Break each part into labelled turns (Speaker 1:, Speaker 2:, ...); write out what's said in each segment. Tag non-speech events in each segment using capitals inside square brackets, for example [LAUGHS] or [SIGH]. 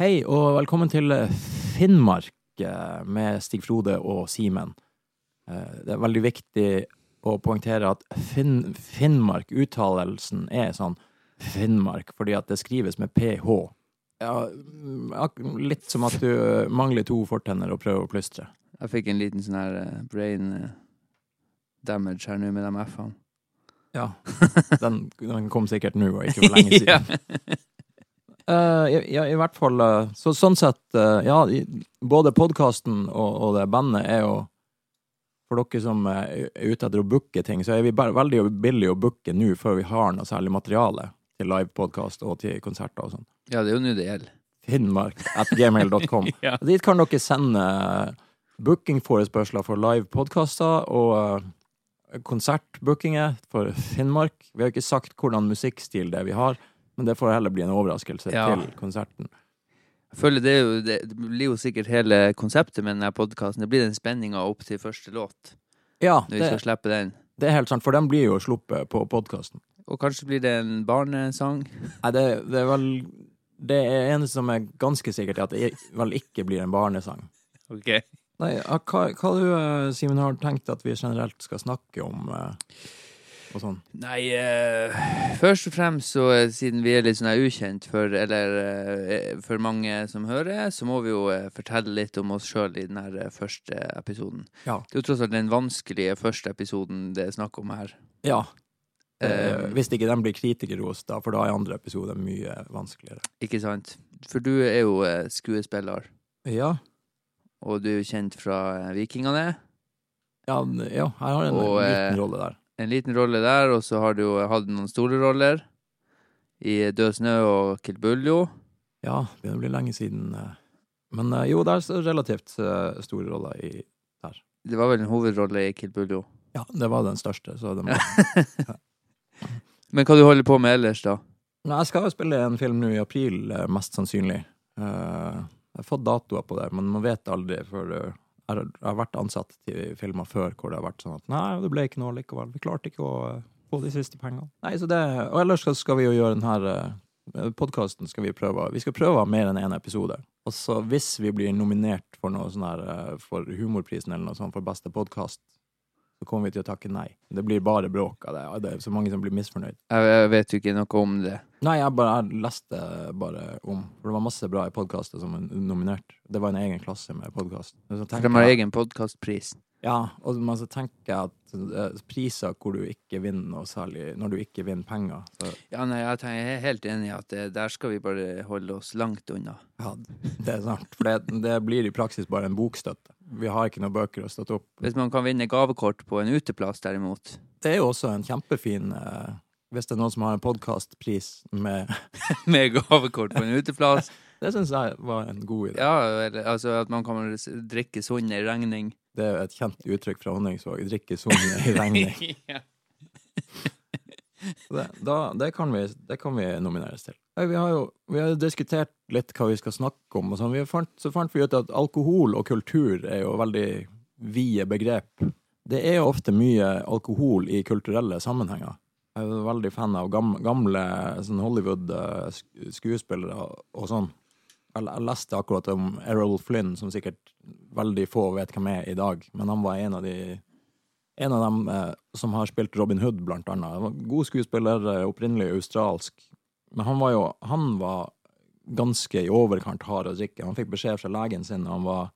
Speaker 1: Hei, og velkommen til eh, Finnmark eh, med Stig Frode og Simen. Eh, Det er veldig viktig å poengtere at Finn, Finnmark-uttalelsen er sånn Finnmark, fordi at det skrives med ph. Ja, mm, ak- litt som at du eh, mangler to fortenner og prøver å plystre.
Speaker 2: Jeg fikk en liten sånn her eh, brain eh, damage her nå med de F-ene.
Speaker 1: Ja, den, den kom sikkert nå og
Speaker 2: [LAUGHS]
Speaker 1: ikke for lenge siden. Eh, ja, ja, i hvert fall eh, så, Sånn sett, eh, ja, i, både podkasten og, og det bandet er jo For dere som eh, er ute etter å booke ting, så er vi bare veldig billig å booke nå før vi har noe særlig materiale til livepodkast og til konserter og sånn.
Speaker 2: Ja, det er jo nå det gjelder.
Speaker 1: Finnmark at
Speaker 2: [LAUGHS]
Speaker 1: gmail.com.
Speaker 2: Ja.
Speaker 1: Dit kan dere sende eh, bookingforespørsler for livepodkaster og eh, konsertbookinger for Finnmark. Vi har ikke sagt hvordan musikkstil det er vi har, men det får heller bli en overraskelse
Speaker 2: Ja.
Speaker 1: til konserten.
Speaker 2: Jeg føler det, er jo, det, det blir jo sikkert hele konseptet med denne podkasten. Det blir den spenninga opp til første låt,
Speaker 1: Ja,
Speaker 2: når vi skal
Speaker 1: det,
Speaker 2: slippe den.
Speaker 1: det er helt sant, for den blir jo sluppet på podkasten.
Speaker 2: Og kanskje blir det en barnesang.
Speaker 1: Nei, det, det er vel Det er eneste som er ganske sikkert, er at det i- vel ikke blir en barnesang.
Speaker 2: Ok.
Speaker 1: Nei, ja, hva, hva du, eh, Simen, har tenkt at vi generelt skal snakke om eh, og sånn?
Speaker 2: Nei, eh, først og fremst så eh, siden vi er litt sånn her ukjent for, eller, eh, for mange som hører, så må vi jo eh, fortelle litt om oss sjøl i den her eh, første episoden.
Speaker 1: Ja.
Speaker 2: Det er jo tross alt den vanskelige første episoden det er snakk om her.
Speaker 1: Ja.
Speaker 2: Eh,
Speaker 1: Eh, hvis ikke den blir kritikerrost, da, for da er andre episode mye vanskeligere.
Speaker 2: Ikke sant? For du er jo eh, skuespiller,
Speaker 1: Ja.
Speaker 2: og du er jo kjent fra eh, Vikingene.
Speaker 1: Ja, n- ja jeg har en
Speaker 2: Og, eh,
Speaker 1: liten rolle der.
Speaker 2: En liten rolle der, og så har du jo hatt noen store roller i Død snø og Kill Buljo.
Speaker 1: Ja, det begynner å bli lenge siden. eh. Men eh, jo, det er så relativt eh, store roller i
Speaker 2: Det var vel en hovedrolle i Kill Buljo.
Speaker 1: Ja, det var den største, så det må
Speaker 2: Men hva du holder på med ellers, da?
Speaker 1: Nei, jeg skal jo spille en film nå i april, eh, mest sannsynlig. Eh, jeg har fått datoer på det, men man vet aldri. For eh, jeg har- jeg har vært ansatt til filmer før hvor det har vært sånn at nei, det ble ikke noe likevel. Vi klarte ikke å eh, få de siste pengene. Nei, så det, Og ellers skal- skal vi jo gjøre den her podkasten skal vi prøve. Vi skal prøve å ha mer enn én episode. Og så hvis vi blir nominert for noe sånn her eh, for Humorprisen eller noe sånt for beste podkast, så kommer vi til å takke nei. Det blir bare bråk av det. og Det er så mange som blir misfornøyd.
Speaker 2: Jeg, jeg vet jo ikke noe om det.
Speaker 1: Nei, jeg bare jeg leste bare om For det var masse bra i podkaster som er nominert. Det var en egen klasse med podkast.
Speaker 2: For de har egen podkastpris.
Speaker 1: Ja, og man så tenker jeg at eh, priser hvor du ikke vinner noe særlig, når du ikke vinner penger så,
Speaker 2: Ja, nei, jeg, tenker, jeg er helt enig i at eh, der skal vi bare holde oss langt unna.
Speaker 1: Ja, det er sant. For det, det blir i praksis bare en bokstøtte. Vi har ikke noen bøker å støtte opp.
Speaker 2: Hvis man kan vinne gavekort på en uteplass, derimot
Speaker 1: Det er jo også en kjempefin eh, Hvis det er noen som har en podkastpris med
Speaker 2: [LAUGHS]
Speaker 1: [LAUGHS]
Speaker 2: Med gavekort på en uteplass
Speaker 1: Det syns jeg var en god idé.
Speaker 2: [LAUGHS] Ja, eller, altså at man kan s- drikke sunnere regning.
Speaker 1: Det er jo et kjent uttrykk fra Honningsvåg. Drikke sunne i
Speaker 2: [LAUGHS]
Speaker 1: regning.
Speaker 2: [LAUGHS] ja.
Speaker 1: Så Det, da, det, kan vi, det kan vi nomineres til. Nei, Vi har jo vi har jo diskutert litt hva vi skal snakke om. Og sånn. vi fant, så fant vi ut at alkohol og kultur er jo veldig vide begrep. Det er jo ofte mye alkohol i kulturelle sammenhenger. Jeg er jo veldig fan av gam- gamle sånn Hollywood-skuespillere og sånn. Jeg jeg leste akkurat om Errol Flynn, som sikkert veldig få vet hvem er i dag. Men han var en av de en av dem eh, som har spilt Robin Hood, blant annet. Han var en God skuespiller, eh, opprinnelig australsk. Men han var jo han var ganske i overkant hard å drikke. Han fikk beskjed fra legen sin da han var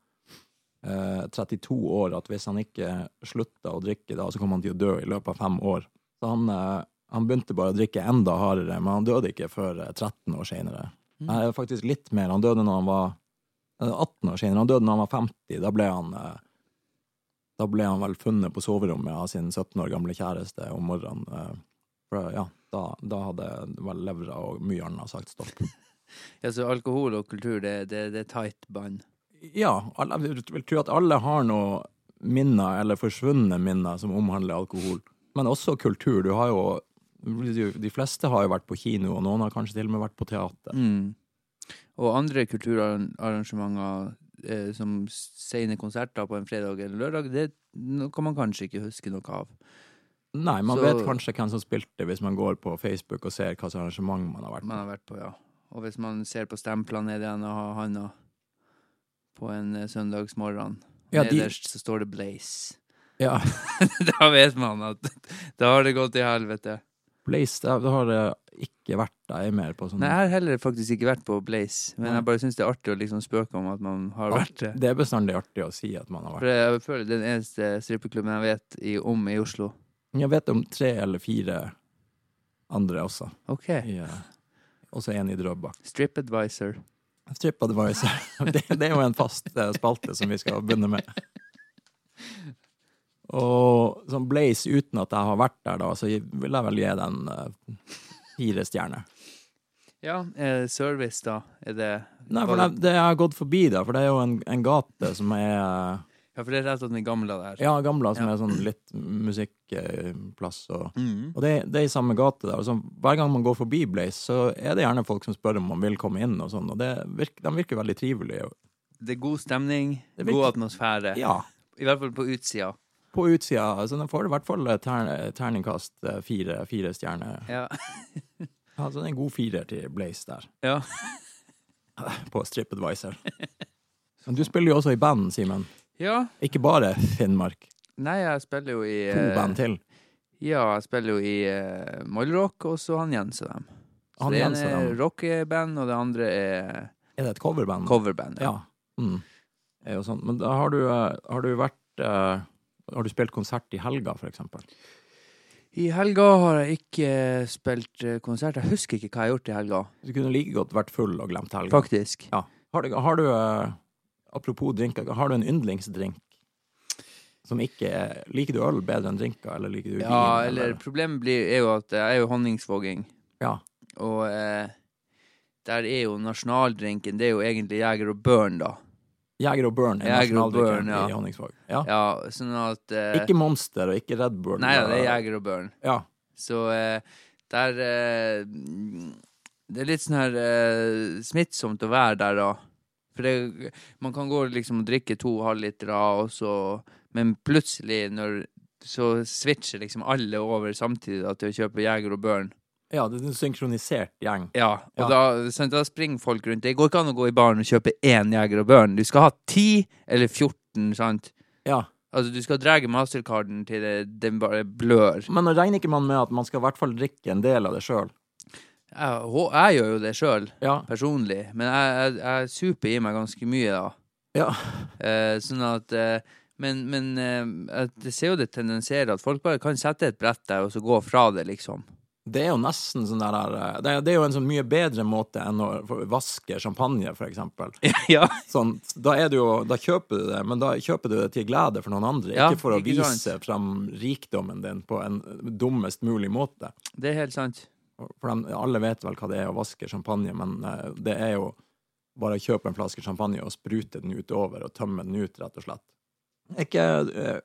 Speaker 1: eh, 32 år, at hvis han ikke slutta å drikke da, så kom han til å dø i løpet av fem år. Så han, eh, han begynte bare å drikke enda hardere, men han døde ikke før eh, 13 år seinere. Nei, faktisk litt mer. Han døde når han var eh, 18 år siden. Han døde når han var 50. Da ble han eh, da ble han vel funnet på soverommet av sin 17 år gamle kjæreste om morgenen. eh, For ja, da, da hadde vel levra og mye annet sagt stopp.
Speaker 2: ja, så alkohol og kultur, det, det, det er tight bånd.
Speaker 1: [LAUGHS] Ja, alle, jeg vil tro at alle har noe minner, eller forsvunne minner, som omhandler alkohol. Men også kultur. Du har jo De fleste har jo vært på kino, og noen har kanskje til og med vært på teater.
Speaker 2: Mm. Og andre kulturarrangementer eh, som sene konserter på en fredag eller lørdag, det no- kan man kanskje ikke huske noe av.
Speaker 1: Nei, man
Speaker 2: Så-
Speaker 1: vet kanskje hvem som spilte, hvis man går på Facebook og ser hva slags arrangement man har vært på.
Speaker 2: Man har vært på, ja. Og hvis man ser på stemplene nede igjen og har handa på en eh, søndagsmorgen,
Speaker 1: Ja, de-
Speaker 2: nederst så står det Blaze. [LAUGHS]
Speaker 1: Ja,
Speaker 2: da vet man at [LAUGHS] da har det gått i helvete.
Speaker 1: Blaze, det har- det har eh, ikke vært Jeg er mer på sånn
Speaker 2: Nei, jeg har heller faktisk ikke vært på Blaze, men
Speaker 1: Nei.
Speaker 2: jeg bare syns det er artig å liksom spøke om at man har
Speaker 1: Art-
Speaker 2: vært det.
Speaker 1: Det er bestandig artig å si at man har
Speaker 2: For
Speaker 1: vært
Speaker 2: jeg føler det er den eneste strippeklubben jeg vet i, om i Oslo.
Speaker 1: Jeg vet om tre eller fire andre også.
Speaker 2: OK.
Speaker 1: i, eh, Også en i Drøbak.
Speaker 2: Strip Advisor.
Speaker 1: TripAdvisor. [LAUGHS] Det, det er jo en fast eh, spalte som vi skal begynne med. Og sånn Blaze, uten at jeg har vært der, da, så vil jeg vel gi den eh, fire stjerner.
Speaker 2: Ja, eh, service, da. Er det
Speaker 1: Nei, for det, det jeg har gått forbi der, for det er jo en, en gate som er
Speaker 2: Ja, for det er rett og slett den gamle der.
Speaker 1: Ja, gamla, som
Speaker 2: Ja.
Speaker 1: er sånn litt musikkplass og
Speaker 2: Mhm.
Speaker 1: Og det, det er i samme gate der. og sånn, hver gang man går forbi Blaze, så er det gjerne folk som spør om man vil komme inn, og sånn, og det virker, de virker veldig trivelige.
Speaker 2: Det er god stemning,
Speaker 1: Det er
Speaker 2: god
Speaker 1: viktig.
Speaker 2: atmosfære.
Speaker 1: Ja.
Speaker 2: I hvert fall på utsida.
Speaker 1: På utsida. Så den får i hvert fall ter, terningkast eh, fire, fire stjerner.
Speaker 2: Ja.
Speaker 1: Altså en god firer til Blaze der,
Speaker 2: ja.
Speaker 1: [LAUGHS] på TripAdvisor. Men du spiller jo også i band, Simen.
Speaker 2: ja.
Speaker 1: Ikke bare Finnmark.
Speaker 2: Nei, jeg spiller jo i
Speaker 1: To
Speaker 2: eh,
Speaker 1: band til.
Speaker 2: Ja, jeg spiller jo i uh, Mollrock og så han Jens og dem. Så
Speaker 1: Han
Speaker 2: det
Speaker 1: Jens og
Speaker 2: ene er eh,
Speaker 1: dem.
Speaker 2: rockeband, og det andre er
Speaker 1: Er det et coverband?
Speaker 2: coverband.
Speaker 1: Ja. Mm. Det Er jo sånn. Men da har du, eh, har du vært eh, Har du spilt konsert i helga, for eksempel?
Speaker 2: I helga har jeg ikke eh, spilt eh, konsert. Jeg husker ikke hva jeg har gjort i helga,
Speaker 1: Du kunne like godt vært full og glemt helga.
Speaker 2: faktisk.
Speaker 1: Har du, har du eh, Apropos drinker, har du en yndlingsdrink? Som ikke er Liker du øl bedre enn drinker, eller liker du
Speaker 2: Ja,
Speaker 1: vin?
Speaker 2: eller problemet blir, er jo at jeg er jo honningsvåging,
Speaker 1: Ja.
Speaker 2: og eh, der er jo nasjonaldrinken Det er jo egentlig Jeger og Børn, da.
Speaker 1: Jeger og Burn er
Speaker 2: Jeger og Burn,
Speaker 1: nasjonaldrikken
Speaker 2: ja.
Speaker 1: i Honningsvåg. Ja.
Speaker 2: Ja, sånn at eh,
Speaker 1: Ikke Monster og ikke Red Bull.
Speaker 2: Nei, ja, det er Jeger og Børn.
Speaker 1: Ja.
Speaker 2: Så eh, der eh, mm, Det er litt sånn her eh, smittsomt å være der, da. For det, man kan gå liksom og drikke to halvlitere, og så Men plutselig, når så switcher liksom alle over samtidig da, til å kjøpe Jeger og Børn.
Speaker 1: ja, det er en synkronisert gjeng.
Speaker 2: Ja, og
Speaker 1: Ja.
Speaker 2: Da, sant, da springer folk rundt. Det går ikke an å gå i baren og kjøpe én Jeger og Børn. Du skal ha ti eller 14, sant?
Speaker 1: Ja.
Speaker 2: Altså, du skal dra mastercarden til det, den bare blør.
Speaker 1: Men regner ikke man med at man skal i hvert fall drikke en del av det sjøl?
Speaker 2: Jeg, hå- jeg gjør jo det sjøl,
Speaker 1: Ja.
Speaker 2: personlig. Men jeg, jeg, jeg super i meg ganske mye, da.
Speaker 1: ja.
Speaker 2: Eh, sånn at eh, Men, men eh, at jeg ser jo det tendenserer at folk bare kan sette et brett der og så gå fra det,
Speaker 1: [LAUGHS]
Speaker 2: liksom.
Speaker 1: Det er jo nesten sånn der eh, Det er, det er jo en sånn mye bedre måte enn å vaske champagne, for eksempel.
Speaker 2: ja.
Speaker 1: Sånn, da, er det jo, da kjøper du det, men da kjøper du det til glede for noen andre.
Speaker 2: Ja,
Speaker 1: ikke for å
Speaker 2: ikke sant.
Speaker 1: vise frem rikdommen din på en dummest mulig måte.
Speaker 2: Det er helt sant.
Speaker 1: For de, alle vet vel hva det er å vaske champagne, men eh, det er jo bare å kjøpe en flaske champagne og sprute den utover og tømme den ut, rett og slett. Ikke, eh,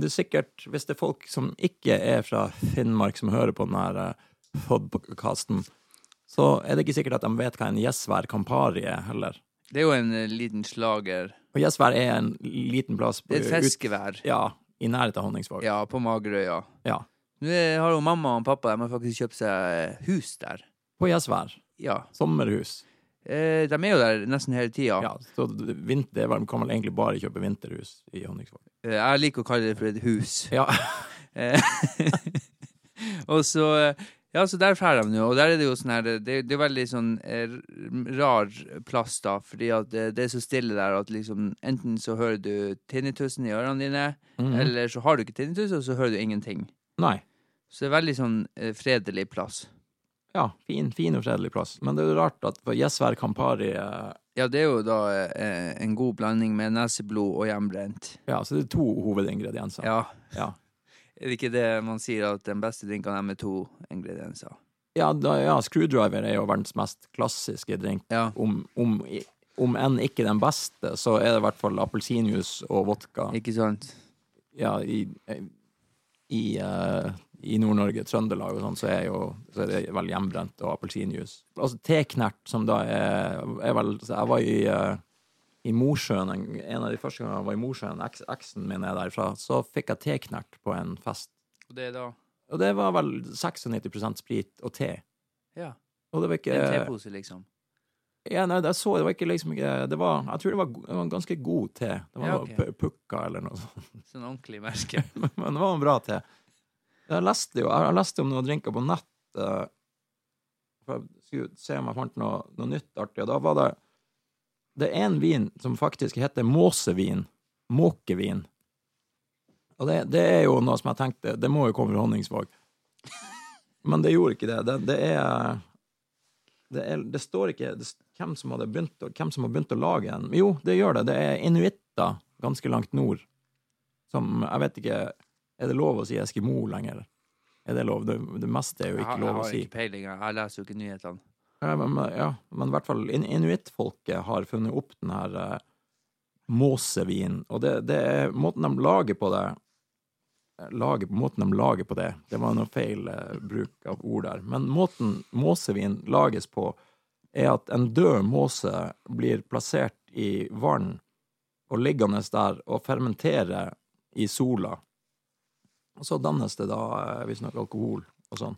Speaker 1: det er sikkert, Hvis det er folk som ikke er fra Finnmark som hører på denne podkasten, så er det ikke sikkert at de vet hva en gjesvær campari er, heller.
Speaker 2: Det er jo en eh, liten slager.
Speaker 1: Og Gjesvær er en liten plass på,
Speaker 2: Det er et
Speaker 1: ut,
Speaker 2: fiskevær.
Speaker 1: ja, i nærheten av Honningsvåg.
Speaker 2: Ja, på Magerøya.
Speaker 1: Ja.
Speaker 2: Nå er- har jo mamma og pappa de har faktisk kjøpt seg eh, hus der.
Speaker 1: På Gjesvær.
Speaker 2: Ja.
Speaker 1: Sommerhus.
Speaker 2: Eh, de er jo der nesten hele tida.
Speaker 1: Ja, så d- vinter, det er vel- kan vel egentlig bare kjøpe vinterhus i Honningsvåg.
Speaker 2: Eh, jeg liker å kalle det for et hus.
Speaker 1: Ja.
Speaker 2: Eh, [LAUGHS] og så eh, Ja, så der drar de nå, og der er det jo sånn her Det, det er veldig sånn eh, r- rar plass, da, fordi at eh, det, det er så stille der at liksom Enten så hører du tinnitusen i ørene dine,
Speaker 1: Mhm.
Speaker 2: eller så har du ikke tinnitus, og så hører du ingenting.
Speaker 1: Nei.
Speaker 2: Så det er veldig sånn eh, fredelig plass.
Speaker 1: Ja, fin, fin og fredelig plass. Men det er jo rart at for Gjesvær Campari eh,
Speaker 2: Ja, det er jo da eh, en god blanding med neseblod og hjemmebrent.
Speaker 1: Ja, så det er to hovedingredienser.
Speaker 2: Ja.
Speaker 1: Ja.
Speaker 2: [LAUGHS] Er det ikke det man sier, at den beste drinken er med to ingredienser?
Speaker 1: Ja, da, ja, Screwdriver er jo verdens mest klassiske drink.
Speaker 2: Ja.
Speaker 1: Om, om, i- om enn ikke den beste, så er det i hvert fall appelsinjuice og vodka.
Speaker 2: Ikke sant?
Speaker 1: ja, i, i, eh, i Nord-Norge, Trøndelag og sånn, så er jo så er det vel hjemmebrent og appelsinjuice. Altså teknert, som da er, er vel så Jeg var i, eh, i Mosjøen en, en av de første gangene jeg var i Mosjøen, eks, eksen min er derfra, så fikk jeg teknert på en fest.
Speaker 2: Og det er da
Speaker 1: Og det var vel 96 sprit og te.
Speaker 2: Ja.
Speaker 1: Og det var ikke
Speaker 2: En tepose, liksom.
Speaker 1: Ja, nei, det jeg så, det var ikke liksom ikke det var, Jeg tror det var, go- det var en ganske god te. Det var
Speaker 2: Ja,
Speaker 1: noe
Speaker 2: ok.
Speaker 1: pu- pukka eller noe sånt.
Speaker 2: Sånn ordentlig merke.
Speaker 1: [LAUGHS] Men det var en bra te. Jeg leste jo jeg leste om noen drinker på nett. eh, For jeg skulle se om jeg fant noe, noe nytt artig. Og da var det Det er en vin som faktisk heter måsevin. Måkevin. Og det, det er jo noe som jeg tenkte Det må jo komme fra Honningsvåg. Men det gjorde ikke det. Det, det er det, er, det står ikke det, s- hvem, som hadde begynt, å- hvem som har begynt å lage den. Jo, det gjør det. Det er inuitter ganske langt nord som Jeg vet ikke Er det lov å si Eskimo lenger? Er det lov? Det, det meste er jo
Speaker 2: Jeg
Speaker 1: ikke
Speaker 2: har, jeg
Speaker 1: lov å
Speaker 2: har
Speaker 1: si.
Speaker 2: ikke peiling, jeg jeg leser jo ikke nyhetene.
Speaker 1: Ja, Eh, men, men- ja, men i hvert fall in inuittfolket har funnet opp den her eh, måsevin, og det, det er måten de lager på det eh, lager, Måten de lager på det Det var noe feil eh, bruk av ord der. Men måten måsevin lages på, er at en død måse blir plassert i vann og liggende der og fermenterer i sola. Og så dannes det da eh, visstnok alkohol og sånn.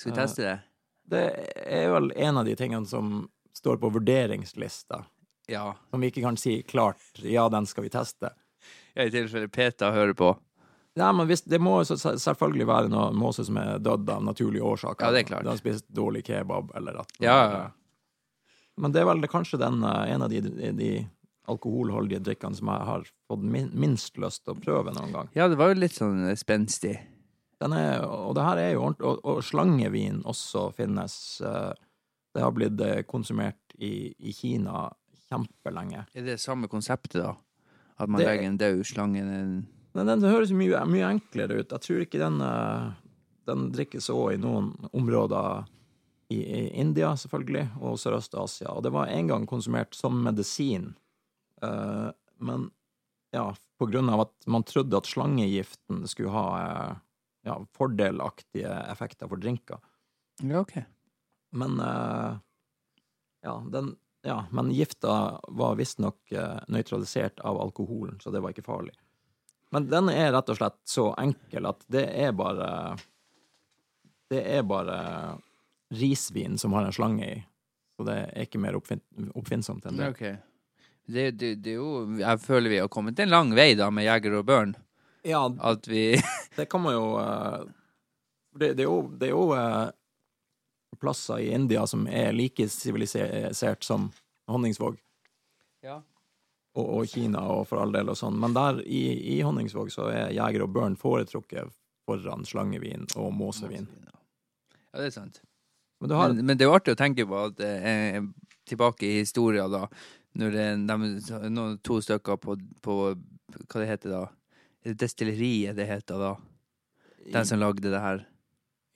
Speaker 2: Skal vi
Speaker 1: Eh,
Speaker 2: teste det?
Speaker 1: Det er vel en av de tingene som står på vurderingslista,
Speaker 2: Ja.
Speaker 1: som vi ikke kan si klart ja, den skal vi teste.
Speaker 2: I tilfelle Peta hører på.
Speaker 1: Nei, men hvis, Det må jo så- selvfølgelig være noe måse som er dødd av naturlige årsaker.
Speaker 2: Ja, det er klart.
Speaker 1: Den har spist dårlig kebab, eller at
Speaker 2: Ja, ja, ja.
Speaker 1: Men det er vel det- kanskje den, eh, en av de, de alkoholholdige drikkene som jeg har fått min, minst lyst til å prøve noen gang.
Speaker 2: Ja, det var jo litt sånn eh, spenstig.
Speaker 1: Den er, og det her er jo ordentlig, og, og slangevin også finnes. eh, Det har blitt eh, konsumert i, i Kina kjempelenge.
Speaker 2: Er det samme konseptet, da? At man
Speaker 1: Det-
Speaker 2: legger en død slange i en
Speaker 1: Men den høres mye, mye enklere ut. Jeg tror ikke den, eh, den drikkes òg i noen områder i, i India, selvfølgelig, og Sørøst-Asia. Og det var en gang konsumert som medisin, Eh, men ja, på grunn av at man trodde at slangegiften skulle ha eh, ja, fordelaktige effekter for drinker.
Speaker 2: Ja, ok.
Speaker 1: Men eh, ja, den, ja, men gifta var visstnok uh, nøytralisert av alkoholen, så det var ikke farlig. Men den er rett og slett så enkel at det er bare Det er bare risvin som har en slange i. Så det er ikke mer oppfin oppfinnsomt enn det.
Speaker 2: Ja, ok. Det, det, det er jo Jeg føler vi har kommet en lang vei, da, med Jeger og Børn.
Speaker 1: Ja,
Speaker 2: At vi
Speaker 1: det kan man jo eh, Det, det er jo, det er jo eh, plasser i India som er like sivilisert som Honningsvåg.
Speaker 2: Ja.
Speaker 1: og, og Kina og for all del og sånn, men der i, i Honningsvåg så er jeger og børn foretrukket foran slangevin og måsevin.
Speaker 2: Ja, det er sant.
Speaker 1: Men du har
Speaker 2: Men, men det er jo artig å tenke på at eh, tilbake i historia, da, når det er dem- noen to stykker på, på Hva det heter da? Destilleriet det heter da. Den som lagde det her.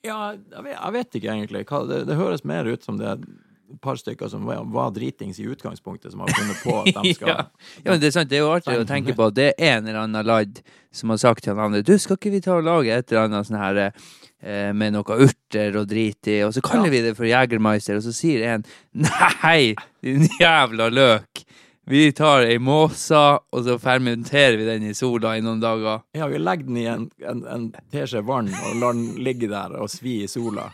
Speaker 1: Ja, jeg vet, jeg vet ikke egentlig. Hva, det, det høres mer ut som det er et par stykker som var, var dritings i utgangspunktet, som har funnet på at
Speaker 2: [LAUGHS]
Speaker 1: de skal
Speaker 2: ja. ja, men det er sant. Det er jo artig å tenke på at det er en eller annen ladd som har sagt til han andre Du, skal ikke vi ta og lage et eller annet sånn her eh, med noe urter og drit i, og så kaller
Speaker 1: Ja.
Speaker 2: vi det for Jegermeister, og så sier en Nei, din jævla løk! Vi tar ei måsa, og så fermenterer vi den i sola i noen dager.
Speaker 1: Ja, vi legger den i en, en, en teskje vann og lar den ligge der og svi i sola.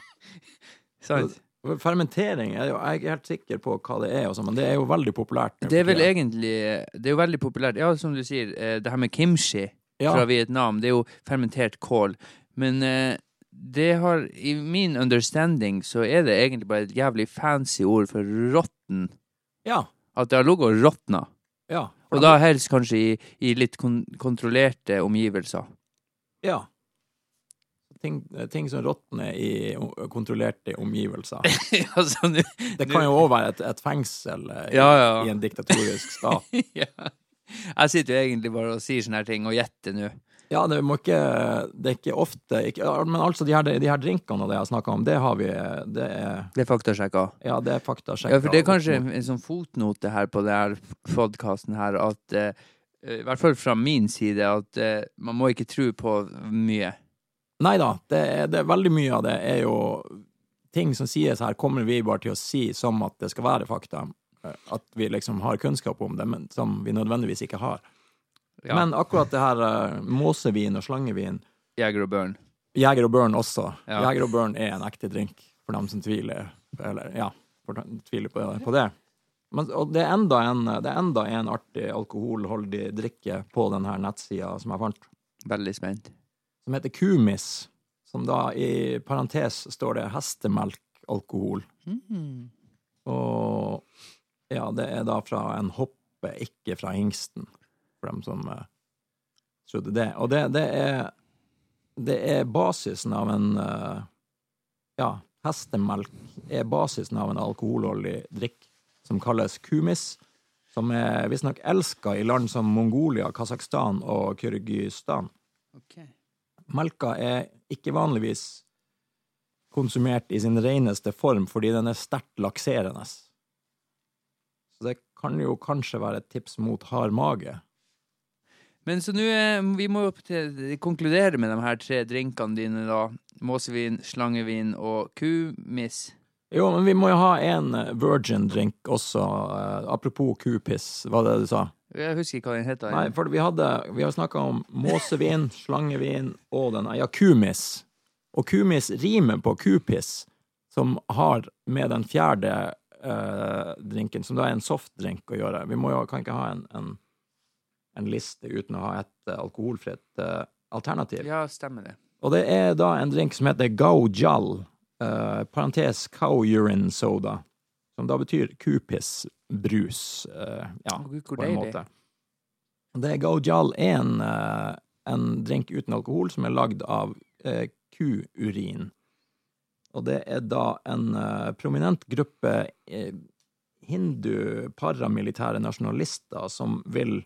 Speaker 2: Sant?
Speaker 1: Og Fermentering er jo Jeg er ikke helt sikker på hva det er, og sånn, men det er jo veldig populært. nå
Speaker 2: Det er
Speaker 1: for
Speaker 2: vel
Speaker 1: tida.
Speaker 2: egentlig Det er jo veldig populært. Ja, som du sier, eh, det her med kimchi.
Speaker 1: ja.
Speaker 2: fra Vietnam. Det er jo fermentert kål. Men eh, det har I min understanding så er det egentlig bare et jævlig fancy ord for råtten.
Speaker 1: Ja.
Speaker 2: At det har ligget og råtna.
Speaker 1: ja.
Speaker 2: Og da helst kanskje i, i litt kon kontrollerte omgivelser. [LAUGHS]
Speaker 1: Ja. Ting, eh, ting som råtner i o- kontrollerte
Speaker 2: [LAUGHS]
Speaker 1: omgivelser.
Speaker 2: ja, så nå
Speaker 1: Det kan jo òg være et, et fengsel eh, i,
Speaker 2: Ja, ja.
Speaker 1: i en diktatorisk stat.
Speaker 2: [LAUGHS] ja. Jeg sitter jo egentlig bare og sier sånne her ting og gjetter nå.
Speaker 1: Ja, det må ikke Det er ikke ofte ikke, ja, Men altså, de her, de her drinkene og det jeg snakka om, det har vi eh, Det er,
Speaker 2: Det er faktasjekka.
Speaker 1: ja, det er faktasjekka.
Speaker 2: Ja, for det er kanskje en, en sånn fotnote her på denne podkasten her, at eh, i hvert fall fra min side, at eh, man må ikke tro på mye.
Speaker 1: Nei da, det er, det er veldig mye av det er jo ting som sies her, kommer vi bare til å si som at det skal være fakta. eh, At vi liksom har kunnskap om det, men som vi nødvendigvis ikke har.
Speaker 2: Ja.
Speaker 1: Men akkurat det her eh, måsevin og slangevin
Speaker 2: Jeger og Børn.
Speaker 1: Jeger og Børn også.
Speaker 2: Ja.
Speaker 1: Jeger og Børn er en ekte drink, for dem som tviler. Eller, ja. for han tviler på, på det. Men, og det er, enda en, det er enda en artig alkoholholdig drikke på denne nettsida som jeg fant,
Speaker 2: Veldig spent.
Speaker 1: som heter Kumis. Som da i parentes står det hestemelkalkohol. Mm, Og ja, det er da fra en hoppe, ikke fra hingsten, for dem som eh, trodde det. Og det, det er det er basisen av en eh, Ja, hestemelk er basisen av en alkoholholdig drikk som kalles kumis, som er visstnok elska i land som Mongolia, Kasakhstan og Kyrgyzstan. Melka er ikke vanligvis konsumert i sin reneste form fordi den er sterkt lakserende. Så det kan jo kanskje være et tips mot hard mage.
Speaker 2: Men så nå eh, Vi må jo til- konkludere med de her tre drinkene dine, da. Måsevin, slangevin og kumiss.
Speaker 1: Jo, men vi må jo ha en eh, virgin drink også. eh, Apropos kupiss, hva var det du sa?
Speaker 2: Jeg husker ikke hva den heter.
Speaker 1: Nei, for vi hadde Vi har snakka om måsevin, slangevin og den Ja, kumis. Og kumis rimer på kupiss, som har med den fjerde eh, drinken, som da er en softdrink, å gjøre. Vi må jo, kan ikke ha en, en, en liste uten å ha et eh, alkoholfritt eh, alternativ.
Speaker 2: Ja, stemmer det.
Speaker 1: Og det er da en drink som heter gaujal, eh, parentes cow urine soda, som da betyr kupissbrus, eh, ja,
Speaker 2: Å, Gud, hvor
Speaker 1: på en
Speaker 2: deilig.
Speaker 1: måte. Det er gaujal er en, eh, en drink uten alkohol som er lagd av eh, kuurin. Og det er da en eh, prominent gruppe eh, hindu-paramilitære nasjonalister som vil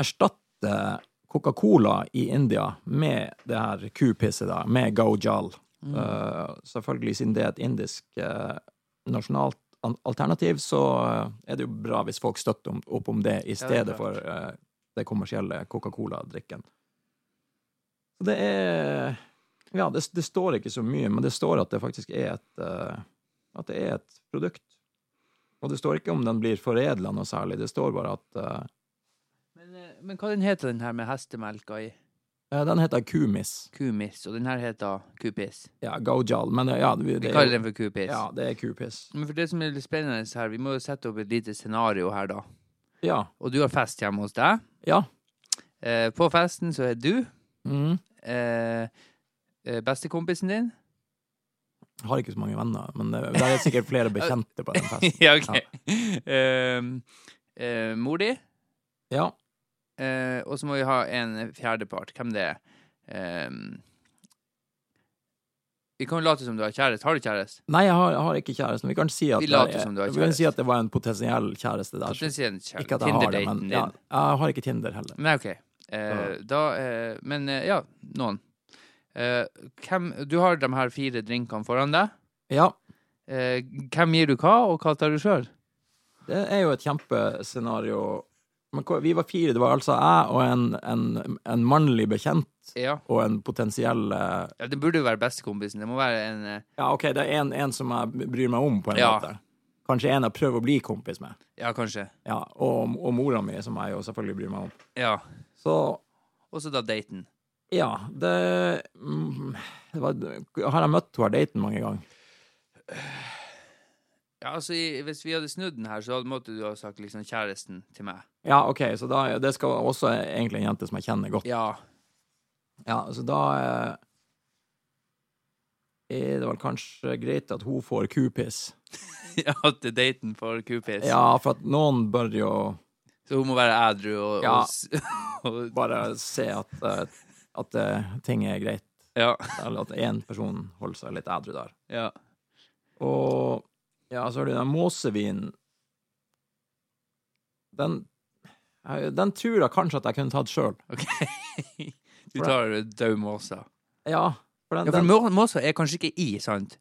Speaker 1: erstatte Coca-Cola i India med det her kupisset, da, med gojal.
Speaker 2: Mm.
Speaker 1: Eh, selvfølgelig, siden det er et indisk eh, nasjonalt an- alternativ, så eh, er det jo bra hvis folk støtter om, opp om det i
Speaker 2: det er
Speaker 1: stedet
Speaker 2: klart.
Speaker 1: for eh, det kommersielle Coca-Cola-drikken. Så Det er Ja, det, det står ikke så mye, men det står at det faktisk er et eh, At det er et produkt. Og det står ikke om den blir foredla noe særlig, det står bare at eh,
Speaker 2: Men, eh, men hva den heter den her med hestemelka i?
Speaker 1: Eh, Den heter Kumis.
Speaker 2: Kumiss, og den her heter kupiss.
Speaker 1: Ja, Gojal. Men eh, ja, det,
Speaker 2: Vi
Speaker 1: det,
Speaker 2: kaller
Speaker 1: er,
Speaker 2: den for kupiss.
Speaker 1: ja, det er kupiss.
Speaker 2: Men for det som er litt spennende her, vi må jo sette opp et lite scenario her, da.
Speaker 1: Ja.
Speaker 2: Og du har fest hjemme hos deg.
Speaker 1: Ja.
Speaker 2: Eh, på festen så er du,
Speaker 1: Mm.
Speaker 2: eh, eh,
Speaker 1: [LAUGHS]
Speaker 2: bestekompisen din
Speaker 1: Har ikke så mange venner, men eh, det, det er sikkert flere bekjente
Speaker 2: [LAUGHS]
Speaker 1: på den festen.
Speaker 2: Ja, ok. Ehm, eh, mor di.
Speaker 1: Ja.
Speaker 2: Eh, og så må vi ha en fjerdepart. Hvem det er? Ehm, vi kan jo late som du har kjæreste. Har du kjæreste?
Speaker 1: Nei, jeg har, jeg har ikke kjæreste. men Vi kan si at,
Speaker 2: Vi
Speaker 1: det er-
Speaker 2: later som du har
Speaker 1: vi kan si
Speaker 2: kjæreste.
Speaker 1: at det var en potensiell kjæreste der.
Speaker 2: Potensielt kjæreste.
Speaker 1: Ikke at jeg har det, men
Speaker 2: Tinder-daten din.
Speaker 1: ja, jeg har ikke Tinder heller.
Speaker 2: Nei, OK. Eh, da eh, Men eh, ja, noen. Eh, hvem Du har de her fire drinkene foran deg.
Speaker 1: Ja.
Speaker 2: Eh, hvem gir du hva, og hva tar du sjøl?
Speaker 1: Det er jo et kjempescenario. Men hva- vi var fire. Det var altså jeg og en, en, en mannlig bekjent
Speaker 2: Ja.
Speaker 1: og en potensiell eh,
Speaker 2: ja, det burde jo være bestekompisen. Det må være en eh,
Speaker 1: Ja, ok, det er en, en som jeg bryr meg om, på en
Speaker 2: Ja.
Speaker 1: måte. Kanskje en jeg prøver å bli kompis med.
Speaker 2: Ja, kanskje.
Speaker 1: Ja, og, og mora mi, som jeg jo selvfølgelig bryr meg om.
Speaker 2: Ja.
Speaker 1: Så
Speaker 2: Og så da daten.
Speaker 1: ja, det, mm, det var, Har jeg møtt henne daten mange ganger?
Speaker 2: Ja, altså, i, hvis vi hadde snudd den her, så hadde måtte du ha sagt liksom kjæresten til meg.
Speaker 1: Ja, OK, så da, det skal også egentlig en jente som jeg kjenner godt.
Speaker 2: Ja.
Speaker 1: Ja, så da eh, er det vel kanskje greit at hun får kupiss.
Speaker 2: [LAUGHS] ja til daten for kupis.
Speaker 1: Ja, for at noen bør jo
Speaker 2: Så hun må være ædru og,
Speaker 1: Ja.
Speaker 2: og, s- [LAUGHS] og
Speaker 1: bare se at, eh, at eh, ting er greit,
Speaker 2: Ja.
Speaker 1: eller at én person holder seg litt edru der.
Speaker 2: ja.
Speaker 1: Og ja, så har du den måsevinen. Den jeg- Den tror jeg kanskje at jeg kunne tatt sjøl.
Speaker 2: OK. [LAUGHS] Du tar død måsa.
Speaker 1: Ja, for den,
Speaker 2: Ja, for
Speaker 1: den
Speaker 2: må- måsa er kanskje ikke i, sant?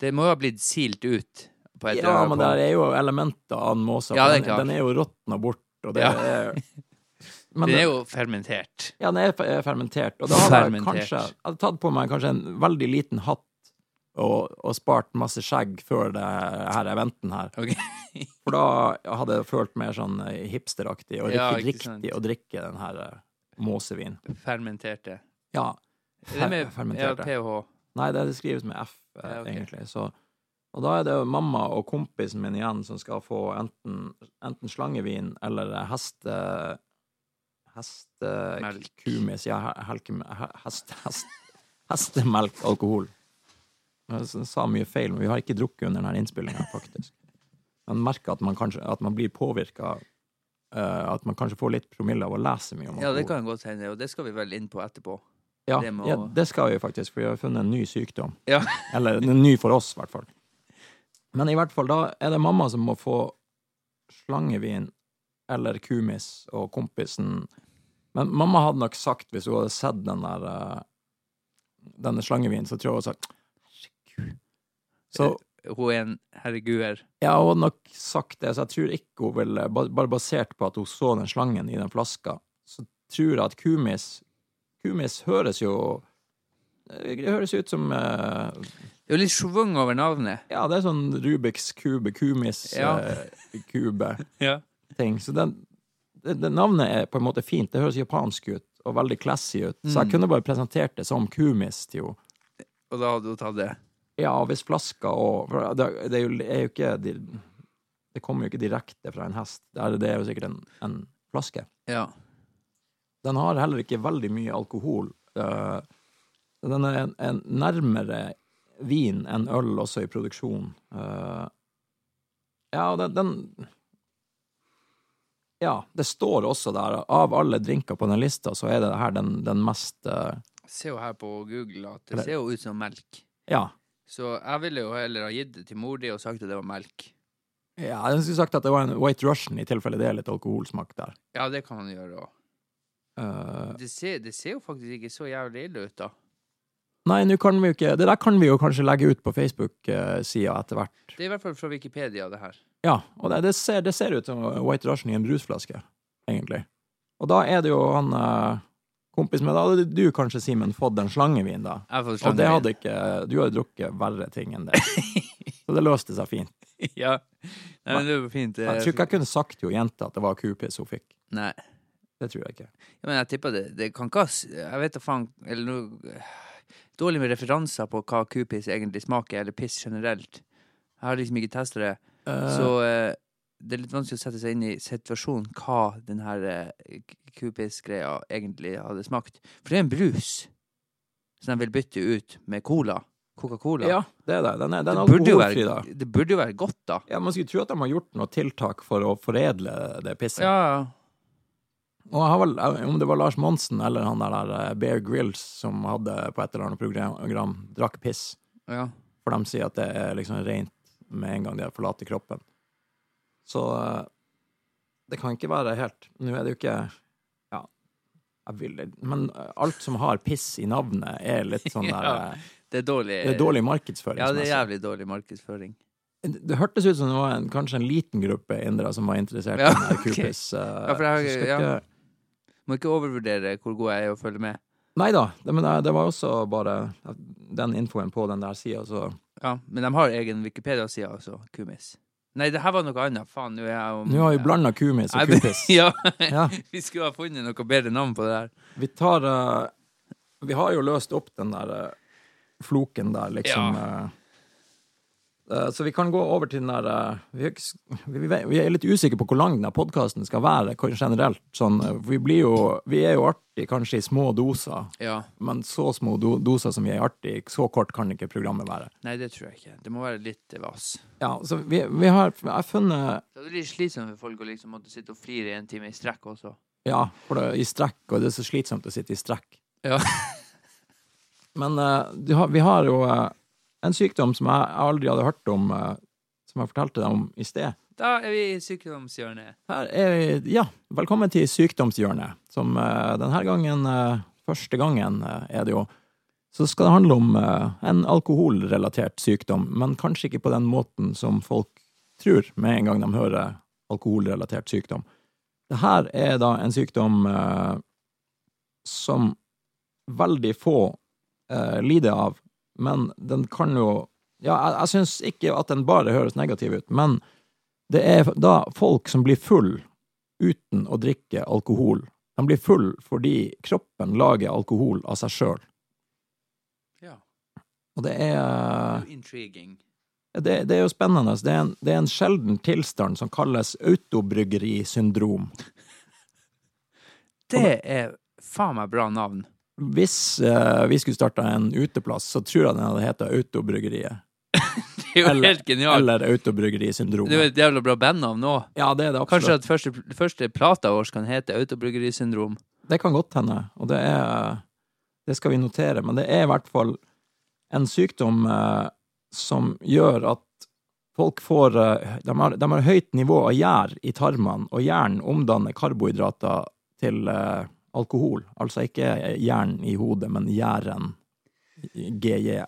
Speaker 2: Det må jo ha blitt silt ut på et eller
Speaker 1: Ja,
Speaker 2: annet
Speaker 1: men
Speaker 2: punkt.
Speaker 1: der er jo elementer av en måse.
Speaker 2: Ja,
Speaker 1: for
Speaker 2: det er
Speaker 1: den,
Speaker 2: klart.
Speaker 1: den er jo råtna bort, og det
Speaker 2: Ja. [LAUGHS]
Speaker 1: er men
Speaker 2: Den er jo fermentert.
Speaker 1: Ja, den er fe- er fermentert. Og da hadde jeg
Speaker 2: Fermentert.
Speaker 1: kanskje jeg hadde tatt på meg kanskje en veldig liten hatt og, og spart masse skjegg før det her eventen her.
Speaker 2: OK. [LAUGHS]
Speaker 1: For da hadde jeg følt mer sånn eh, hipsteraktig og
Speaker 2: Ja,
Speaker 1: riktig,
Speaker 2: ikke sant.
Speaker 1: riktig å drikke den her eh, måsevinen.
Speaker 2: Fermenterte.
Speaker 1: Ja.
Speaker 2: Er det med ja,
Speaker 1: fermenterte.
Speaker 2: pH?
Speaker 1: Nei, det, det skrives med F, eh,
Speaker 2: Ja, ok.
Speaker 1: egentlig. Så Og da er det jo mamma og kompisen min igjen som skal få enten, enten slangevin eller eh, heste... Heste...
Speaker 2: Melk.
Speaker 1: eh, Kumis. Ja, he- helke- he- hest, hest, hestemelk alkohol. Jeg s- sa mye feil, men vi har ikke drukket under denne innspillinga, faktisk. Man merker at man, kanskje, at man blir påvirka At man kanskje får litt promille av å lese mye om
Speaker 2: Ja, det kan godt hende, og det skal vi vel inn på etterpå.
Speaker 1: Ja,
Speaker 2: Det må-
Speaker 1: ja, det skal vi faktisk, for vi har funnet en ny sykdom.
Speaker 2: [LAUGHS] Ja.
Speaker 1: Eller en ny for oss, i hvert fall. Men i hvert fall, da er det mamma som må få slangevin eller kumis og kompisen Men mamma hadde nok sagt, hvis hun hadde sett den der eh, denne slangevinen, så tror jeg hun hadde sagt Herregud. Så
Speaker 2: Hun er en herreguer.
Speaker 1: ja, hun hadde nok sagt det, så jeg tror ikke hun ville ba- Bare basert på at hun så den slangen i den flaska, så tror jeg at kumis Kumis høres jo Det høres ut som eh,
Speaker 2: Det er jo litt schwung over navnet.
Speaker 1: Ja, det er sånn Rubiks kube,
Speaker 2: Ja.
Speaker 1: kumis-kube-ting.
Speaker 2: Ja.
Speaker 1: Så den, det, det navnet er på en måte fint. Det høres japansk ut, og veldig classy ut. Så jeg kunne bare presentert det som kumis til henne.
Speaker 2: Og da hadde hun tatt det.
Speaker 1: Ja, hvis flaska og for det, det er jo, er jo ikke de, Det kommer jo ikke direkte fra en hest. Det er, det er jo sikkert en, en flaske.
Speaker 2: Ja.
Speaker 1: Den har heller ikke veldig mye alkohol. Eh, Den er en, en nærmere vin enn øl også i produksjon. Eh, Ja, og den, den Ja, det står også der, av alle drinker på den lista, så er det her den, den mest eh,
Speaker 2: Ser jo her på Google at
Speaker 1: Eller-
Speaker 2: det ser jo ut som melk.
Speaker 1: Ja.
Speaker 2: Så jeg ville jo heller ha gitt det til mor di og sagt at det var melk.
Speaker 1: ja. Jeg skulle sagt at det var en White Russian, i tilfelle det er litt alkoholsmak der.
Speaker 2: Ja, det kan man gjøre òg.
Speaker 1: Eh,
Speaker 2: Det, ser- det ser jo faktisk ikke så jævlig ille ut, da.
Speaker 1: Nei, nå kan vi jo ikke Det der kan vi jo kanskje legge ut på Facebook-sida etter hvert.
Speaker 2: Det er i hvert fall fra Wikipedia, det her.
Speaker 1: Ja, og det, det, ser, det ser ut som White Russian i en brusflaske, egentlig. Og da er det jo han eh, kompisen min Da hadde du kanskje, Simen, fått en slangevin, da.
Speaker 2: Jeg har fått
Speaker 1: Og det
Speaker 2: slangevin.
Speaker 1: hadde ikke Du hadde drukket verre ting enn
Speaker 2: [LAUGHS]
Speaker 1: det. Så det løste seg fint.
Speaker 2: Ja. Nei, men det er jo fint. det-
Speaker 1: Jeg tror ikke jeg kunne sagt til jenta at det var kupiss hun fikk.
Speaker 2: Nei.
Speaker 1: Det tror jeg ikke.
Speaker 2: Ja, men jeg tipper det, det kan ikke ha s- Jeg vet da faen Eller noe Dårlig med referanser på hva kupiss egentlig smaker, eller piss generelt. Jeg har liksom ikke testa det.
Speaker 1: Eh,
Speaker 2: Så eh, det er litt vanskelig å sette seg inn i situasjonen hva den her eh, k- kupiss-greia egentlig hadde smakt. For det er en brus som de vil bytte ut med cola. Coca-Cola.
Speaker 1: ja, det er det. Den er, den er
Speaker 2: det, burde jo
Speaker 1: alkoholfri, da.
Speaker 2: være, det burde jo være godt, da.
Speaker 1: Ja, man skulle tro at de har gjort noe tiltak for å foredle det pisset.
Speaker 2: Ja, ja.
Speaker 1: Og jeg har vel, om det var Lars Monsen eller han der, der Bear Grills som hadde på et eller annet program, program drakk piss,
Speaker 2: ja.
Speaker 1: for de sier at det er liksom rent med en gang de forlater kroppen. Så eh, det kan ikke være helt Nå er det jo ikke Ja, jeg vil Men eh, alt som har piss i navnet, er litt
Speaker 2: [LAUGHS]
Speaker 1: sånn der
Speaker 2: Ja.
Speaker 1: eh,
Speaker 2: Det er dårlig.
Speaker 1: Det er dårlig markedsføring.
Speaker 2: Ja,
Speaker 1: som
Speaker 2: det er
Speaker 1: jeg
Speaker 2: jævlig dårlig markedsføring.
Speaker 1: sier. det hørtes ut som det var en, kanskje en liten gruppe indere som var interessert
Speaker 2: Ja,
Speaker 1: i den der
Speaker 2: [LAUGHS] ok.
Speaker 1: kupiss. eh,
Speaker 2: for jeg har-
Speaker 1: så skal
Speaker 2: ja.
Speaker 1: ikke-
Speaker 2: Må ikke overvurdere hvor god jeg er i å følge med.
Speaker 1: Nei da, det, men det, det var også bare den infoen på den der sida, så
Speaker 2: Ja, Men de har egen Wikipedia-side, altså. Kumis. Nei, det her var noe annet. Faen, nå er jeg jo-
Speaker 1: Nå har vi blanda kumis og [LAUGHS]
Speaker 2: Jeg-
Speaker 1: kupiss.
Speaker 2: [LAUGHS] Ja,
Speaker 1: Ja,
Speaker 2: vi skulle ha funnet noe bedre navn på det her.
Speaker 1: vi tar eh, Vi har jo løst opp den der eh, floken der, liksom. eh. Eh, så vi kan gå over til den der eh, vi, er ikke s- vi, vi- vi er litt usikre på hvor lang den podkasten skal være hvor- generelt. Sånn, eh, vi, blir jo, vi er jo artig kanskje i små doser,
Speaker 2: Ja.
Speaker 1: men så små do, doser som vi er artig, så kort kan ikke programmet være.
Speaker 2: Nei, det tror jeg ikke. Det må være litt eh, vas.
Speaker 1: Ja, så vi, vi har jeg har funnet
Speaker 2: Det er litt slitsomt for folk å liksom måtte sitte og flire i en time i strekk også.
Speaker 1: Ja, for det er i strekk, og det er så slitsomt å sitte i strekk.
Speaker 2: Ja.
Speaker 1: [LAUGHS] Men eh, du har, vi har jo eh, en sykdom som jeg aldri hadde hørt om, eh, som jeg fortalte deg om i sted.
Speaker 2: Da er vi i sykdomshjørnet.
Speaker 1: Her er vi, ja, velkommen til sykdomshjørnet, som eh, denne gangen, eh, første gangen eh, er det jo, så skal det handle om eh, en alkoholrelatert sykdom, men kanskje ikke på den måten som folk tror med en gang de hører alkoholrelatert sykdom. Dette er da en sykdom eh, som veldig få eh, lider av, men den kan jo, ja, jeg, jeg synes ikke at den bare høres negativ ut, men det er da folk som blir full uten å drikke alkohol. De blir full fordi kroppen lager alkohol av seg sjøl.
Speaker 2: Ja.
Speaker 1: Og det er
Speaker 2: Intriguing.
Speaker 1: Det, det er jo spennende. Det er, en, det er en sjelden tilstand som kalles autobryggerisyndrom.
Speaker 2: Det er faen meg bra navn.
Speaker 1: Hvis eh, vi skulle starta en uteplass, så tror jeg den hadde heta Autobryggeriet.
Speaker 2: Det er jo helt genialt.
Speaker 1: eller
Speaker 2: Det er jo
Speaker 1: Autobryggerisyndromet.
Speaker 2: et jævla bra bandnavn òg.
Speaker 1: Ja, det er det absolutt.
Speaker 2: Kanskje at første, første plata vår kan hete Autobryggerisyndrom.
Speaker 1: Det kan godt hende, og det er Det skal vi notere, men det er i hvert fall en sykdom eh, som gjør at folk får eh, De har, de har høyt nivå av gjær i tarmene, og hjernen omdanner karbohydrater til eh, alkohol. Altså ikke hjernen i hodet, men gjæren. GJæ.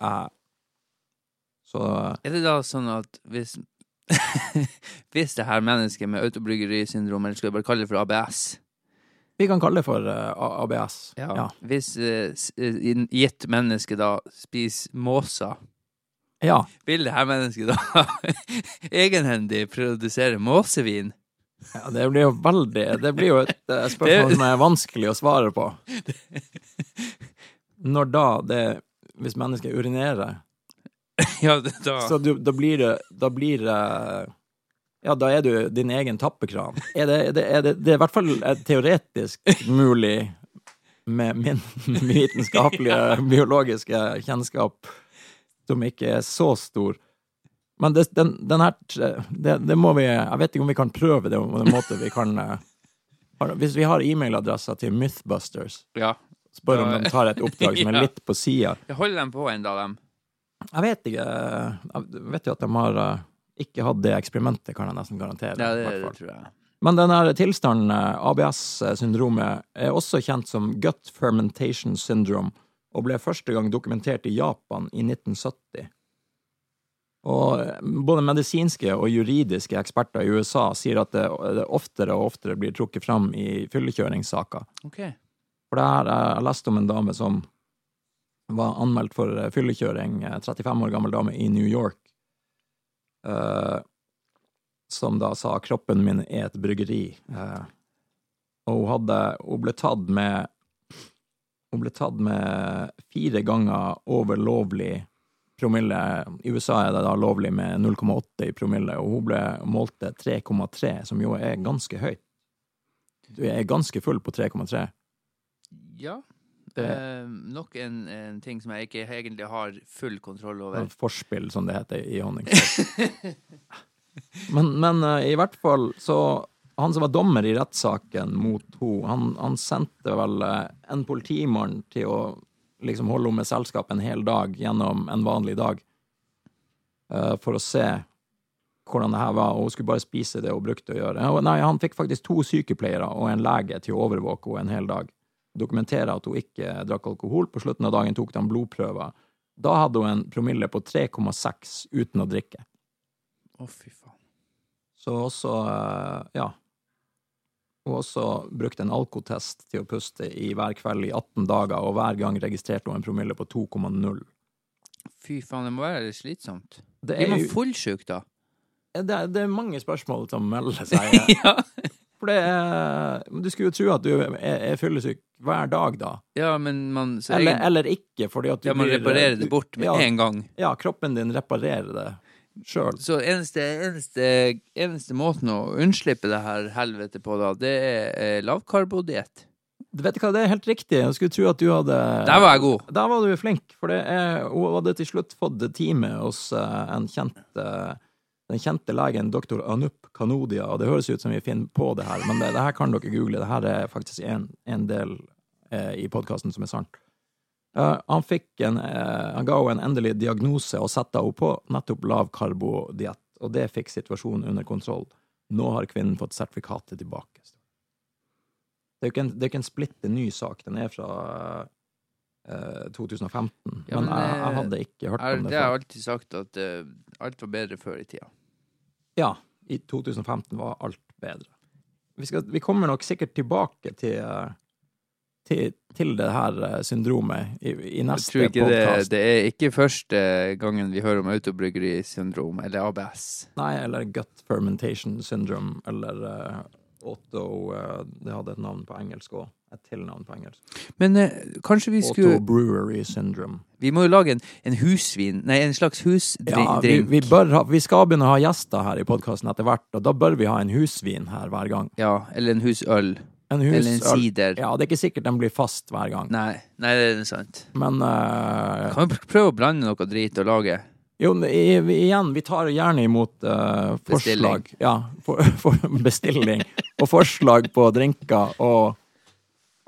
Speaker 1: Så eh,
Speaker 2: Er det da sånn at hvis [LAUGHS] Hvis det her mennesket med autobryggerisyndrom, eller skal vi bare kalle det for ABS
Speaker 1: vi kan kalle det for eh, A- ABS. ja.
Speaker 2: Hvis eh, s- eh, gitt menneske da spiser måser,
Speaker 1: ja.
Speaker 2: vil det her mennesket da [LAUGHS] egenhendig produsere måsevin? [LAUGHS]
Speaker 1: Ja, det blir jo veldig Det blir jo et eh, spørsmål
Speaker 2: Det-
Speaker 1: som er vanskelig å svare på. Når da det Hvis mennesket urinerer,
Speaker 2: Ja, det- da
Speaker 1: så du, da blir det Da blir det Ja, da er du din egen tappekran. Er det, er det, er det, det er i hvert fall eh, teoretisk mulig med min [LAUGHS] vitenskapelige, biologiske kjennskap, som ikke er så stor. Men det, den, den her det, det må vi Jeg vet ikke om vi kan prøve det på en måte vi kan eh, har- Hvis vi har e-mailadressa til Mythbusters,
Speaker 2: Ja.
Speaker 1: spør om de tar et oppdrag som er
Speaker 2: [LAUGHS] Ja.
Speaker 1: litt på sida.
Speaker 2: Jeg holder dem på ennå, dem.
Speaker 1: Jeg vet ikke Jeg vet jo at de har eh, ikke hatt det eksperimentet, kan jeg nesten garantere.
Speaker 2: Ja,
Speaker 1: i
Speaker 2: det,
Speaker 1: hvert fall.
Speaker 2: det tror jeg.
Speaker 1: Men denne tilstanden, eh, ABS-syndromet, er også kjent som gut fermentation syndrome, og ble første gang dokumentert i Japan i 1970. Og eh, både medisinske og juridiske eksperter i USA sier at det, det oftere og oftere blir trukket fram i fyllekjøringssaker.
Speaker 2: Ok.
Speaker 1: For det her, eh, jeg leste om en dame som var anmeldt for eh, fyllekjøring, eh, 35 år gammel dame i New York, eh, som da sa 'kroppen min er et bryggeri'. Eh, og hun, hadde, hun ble tatt med hun ble tatt med fire ganger over lovlig promille. I USA er det da lovlig med 0,8 i promille, og hun ble målt til 3,3, som jo er ganske høyt. Du er ganske full på 3,3.
Speaker 2: Ja.
Speaker 1: Det-
Speaker 2: Eh, nok en, en ting som jeg ikke egentlig har full kontroll over.
Speaker 1: Et forspill, som det heter i honningstøy. men men eh, i hvert fall så Han som var dommer i rettssaken mot henne, han, han sendte vel eh, en politimann til å liksom holde henne med selskap en hel dag gjennom en vanlig dag, eh, for å se hvordan det her var, og hun skulle bare spise det hun brukte å gjøre. Og Nei, han fikk faktisk to sykepleiere og en lege til å overvåke henne en hel dag. Dokumentere at hun ikke drakk alkohol. På slutten av dagen tok de blodprøver. Da hadde hun en promille på 3,6 uten å drikke.
Speaker 2: Å, fy faen.
Speaker 1: Så også, eh, ja Hun også brukte en alkotest til å puste i hver kveld i 18 dager, og hver gang registrerte hun en promille på 2,0.
Speaker 2: Fy faen, det må være litt slitsomt.
Speaker 1: Det
Speaker 2: Blir
Speaker 1: er,
Speaker 2: man
Speaker 1: jo,
Speaker 2: fullsjuk da?
Speaker 1: det, er, det er mange spørsmål som melder
Speaker 2: [LAUGHS]
Speaker 1: seg.
Speaker 2: ja.
Speaker 1: For det er, men du skulle jo tro at du er, er fyllesyk hver dag, da.
Speaker 2: ja, men man så
Speaker 1: Eller,
Speaker 2: egen-
Speaker 1: eller ikke, fordi at du
Speaker 2: ja, man
Speaker 1: blir-
Speaker 2: reparerer det
Speaker 1: du-
Speaker 2: bort med
Speaker 1: ja,
Speaker 2: en gang.
Speaker 1: Ja, kroppen din reparerer det sjøl.
Speaker 2: Så eneste, eneste, eneste måten å unnslippe det her helvete på, da, det er eh, lavkarbodiett.
Speaker 1: Vet du hva, det er helt riktig. Jeg skulle tro at du hadde
Speaker 2: Der var jeg god!
Speaker 1: Der var du flink, for det er, hun hadde til slutt fått time hos eh, en kjent, eh, den kjente legen doktor Anup Kanodia, og det høres ut som vi finner på det her, men det, det her kan dere google. Det her er faktisk en, en del eh, i podkasten som er sant. Eh, han, fikk en, eh, han ga henne en endelig diagnose og satte henne på nettopp lavkarbodiett, og det fikk situasjonen under kontroll. Nå har kvinnen fått sertifikatet tilbake. Det er jo ikke en, det er ikke en splitter ny sak. Den er fra eh, 2015.
Speaker 2: Ja,
Speaker 1: men
Speaker 2: men,
Speaker 1: jeg, jeg
Speaker 2: eh,
Speaker 1: hadde ikke hørt
Speaker 2: Er,
Speaker 1: om
Speaker 2: det
Speaker 1: det
Speaker 2: har
Speaker 1: før.
Speaker 2: jeg alltid sagt, at eh, alt var bedre før i tida.
Speaker 1: Ja, i 2015 var alt bedre. Vi, skal, vi kommer nok sikkert tilbake til, eh, til, til det her eh, syndromet i, i
Speaker 2: Jeg
Speaker 1: neste
Speaker 2: tror ikke det,
Speaker 1: podkast.
Speaker 2: det er ikke første gangen vi hører om autobryggerisyndrom, eller ABS.
Speaker 1: Nei, eller gut fermentation syndrome, eller eh, Otto eh, Det hadde et navn på engelsk òg. Et tilnavn på engelsk.
Speaker 2: Men eh, kanskje vi skulle
Speaker 1: Otto Brewery Syndrome.
Speaker 2: Vi må jo lage en, en husvin Nei, en slags husdrink.
Speaker 1: Ja, vi, vi, bør ha, vi skal begynne å ha gjester her i podkasten etter hvert, og da bør vi ha en husvin her hver gang.
Speaker 2: Ja, eller en husøl.
Speaker 1: En
Speaker 2: Eller en
Speaker 1: husøl.
Speaker 2: sider.
Speaker 1: Ja, det er ikke sikkert den blir fast hver gang,
Speaker 2: Nei, nei, det er sant.
Speaker 1: men eh,
Speaker 2: Kan vi pr- prøve å blande noe drit og lage?
Speaker 1: Jo, men i, vi, igjen, vi tar gjerne imot eh, forslag.
Speaker 2: Bestilling.
Speaker 1: Ja, for, [LAUGHS] for bestilling. og forslag på drinker og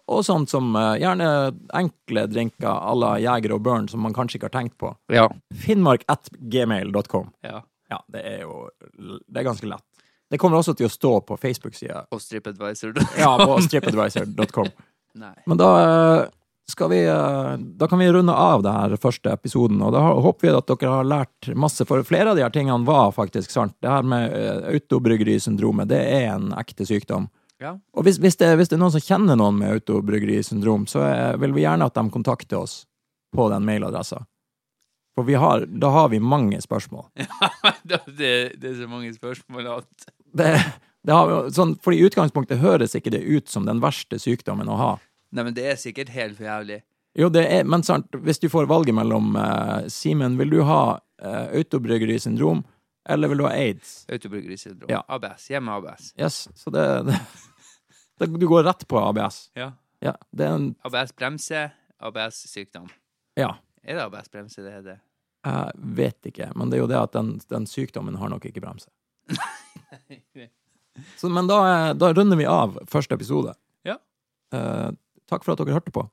Speaker 1: og sånt som eh, gjerne enkle drinker à la Jeger og Børn som man kanskje ikke har tenkt på.
Speaker 2: Ja.
Speaker 1: Finnmark.gmail.com.
Speaker 2: ja.
Speaker 1: Ja, det er jo Det er ganske lett. Det kommer også til å stå på Facebook-sida.
Speaker 2: Og stripadvisor.
Speaker 1: Ja, på stripadvisor.com.
Speaker 2: [LAUGHS] nei.
Speaker 1: Men da eh, skal vi eh, Da kan vi runde av det her første episoden, og da har- håper vi at dere har lært masse, for flere av de her tingene var faktisk sant. Det her med eh, autobryggerisyndromet, det er en ekte sykdom.
Speaker 2: Ja. [LAUGHS]
Speaker 1: Og hvis, hvis, det, hvis det er noen som kjenner noen med autobryggerisyndrom, så eh, vil vi gjerne at de kontakter oss på den mailadressa. For vi har, da har vi mange spørsmål.
Speaker 2: det, det er så mange spørsmål at
Speaker 1: Det, det har, vi jo- sånn, for i utgangspunktet høres ikke det ut som den verste sykdommen å ha.
Speaker 2: Nei, men det er sikkert helt for jævlig.
Speaker 1: Jo, det er, men sant, hvis du får valget mellom eh, Simen, vil du ha uh, autobryggerisyndrom, eller vil du ha aids?
Speaker 2: Autobryggerisyndrom.
Speaker 1: Ja.
Speaker 2: ABS. Hjemme ABS.
Speaker 1: Yes, så det, [LAUGHS] det, Du går rett på ABS.
Speaker 2: Ja.
Speaker 1: Ja, det er en
Speaker 2: ABS bremse, ABS sykdom.
Speaker 1: Ja.
Speaker 2: Er det ABS bremse det heter?
Speaker 1: Jeg vet ikke, men det er jo det at den, den sykdommen har nok ikke bremse.
Speaker 2: [LAUGHS]
Speaker 1: Så, men da, eh, da runder vi av første episode.
Speaker 2: Ja.
Speaker 1: Eh, takk for at dere hørte på.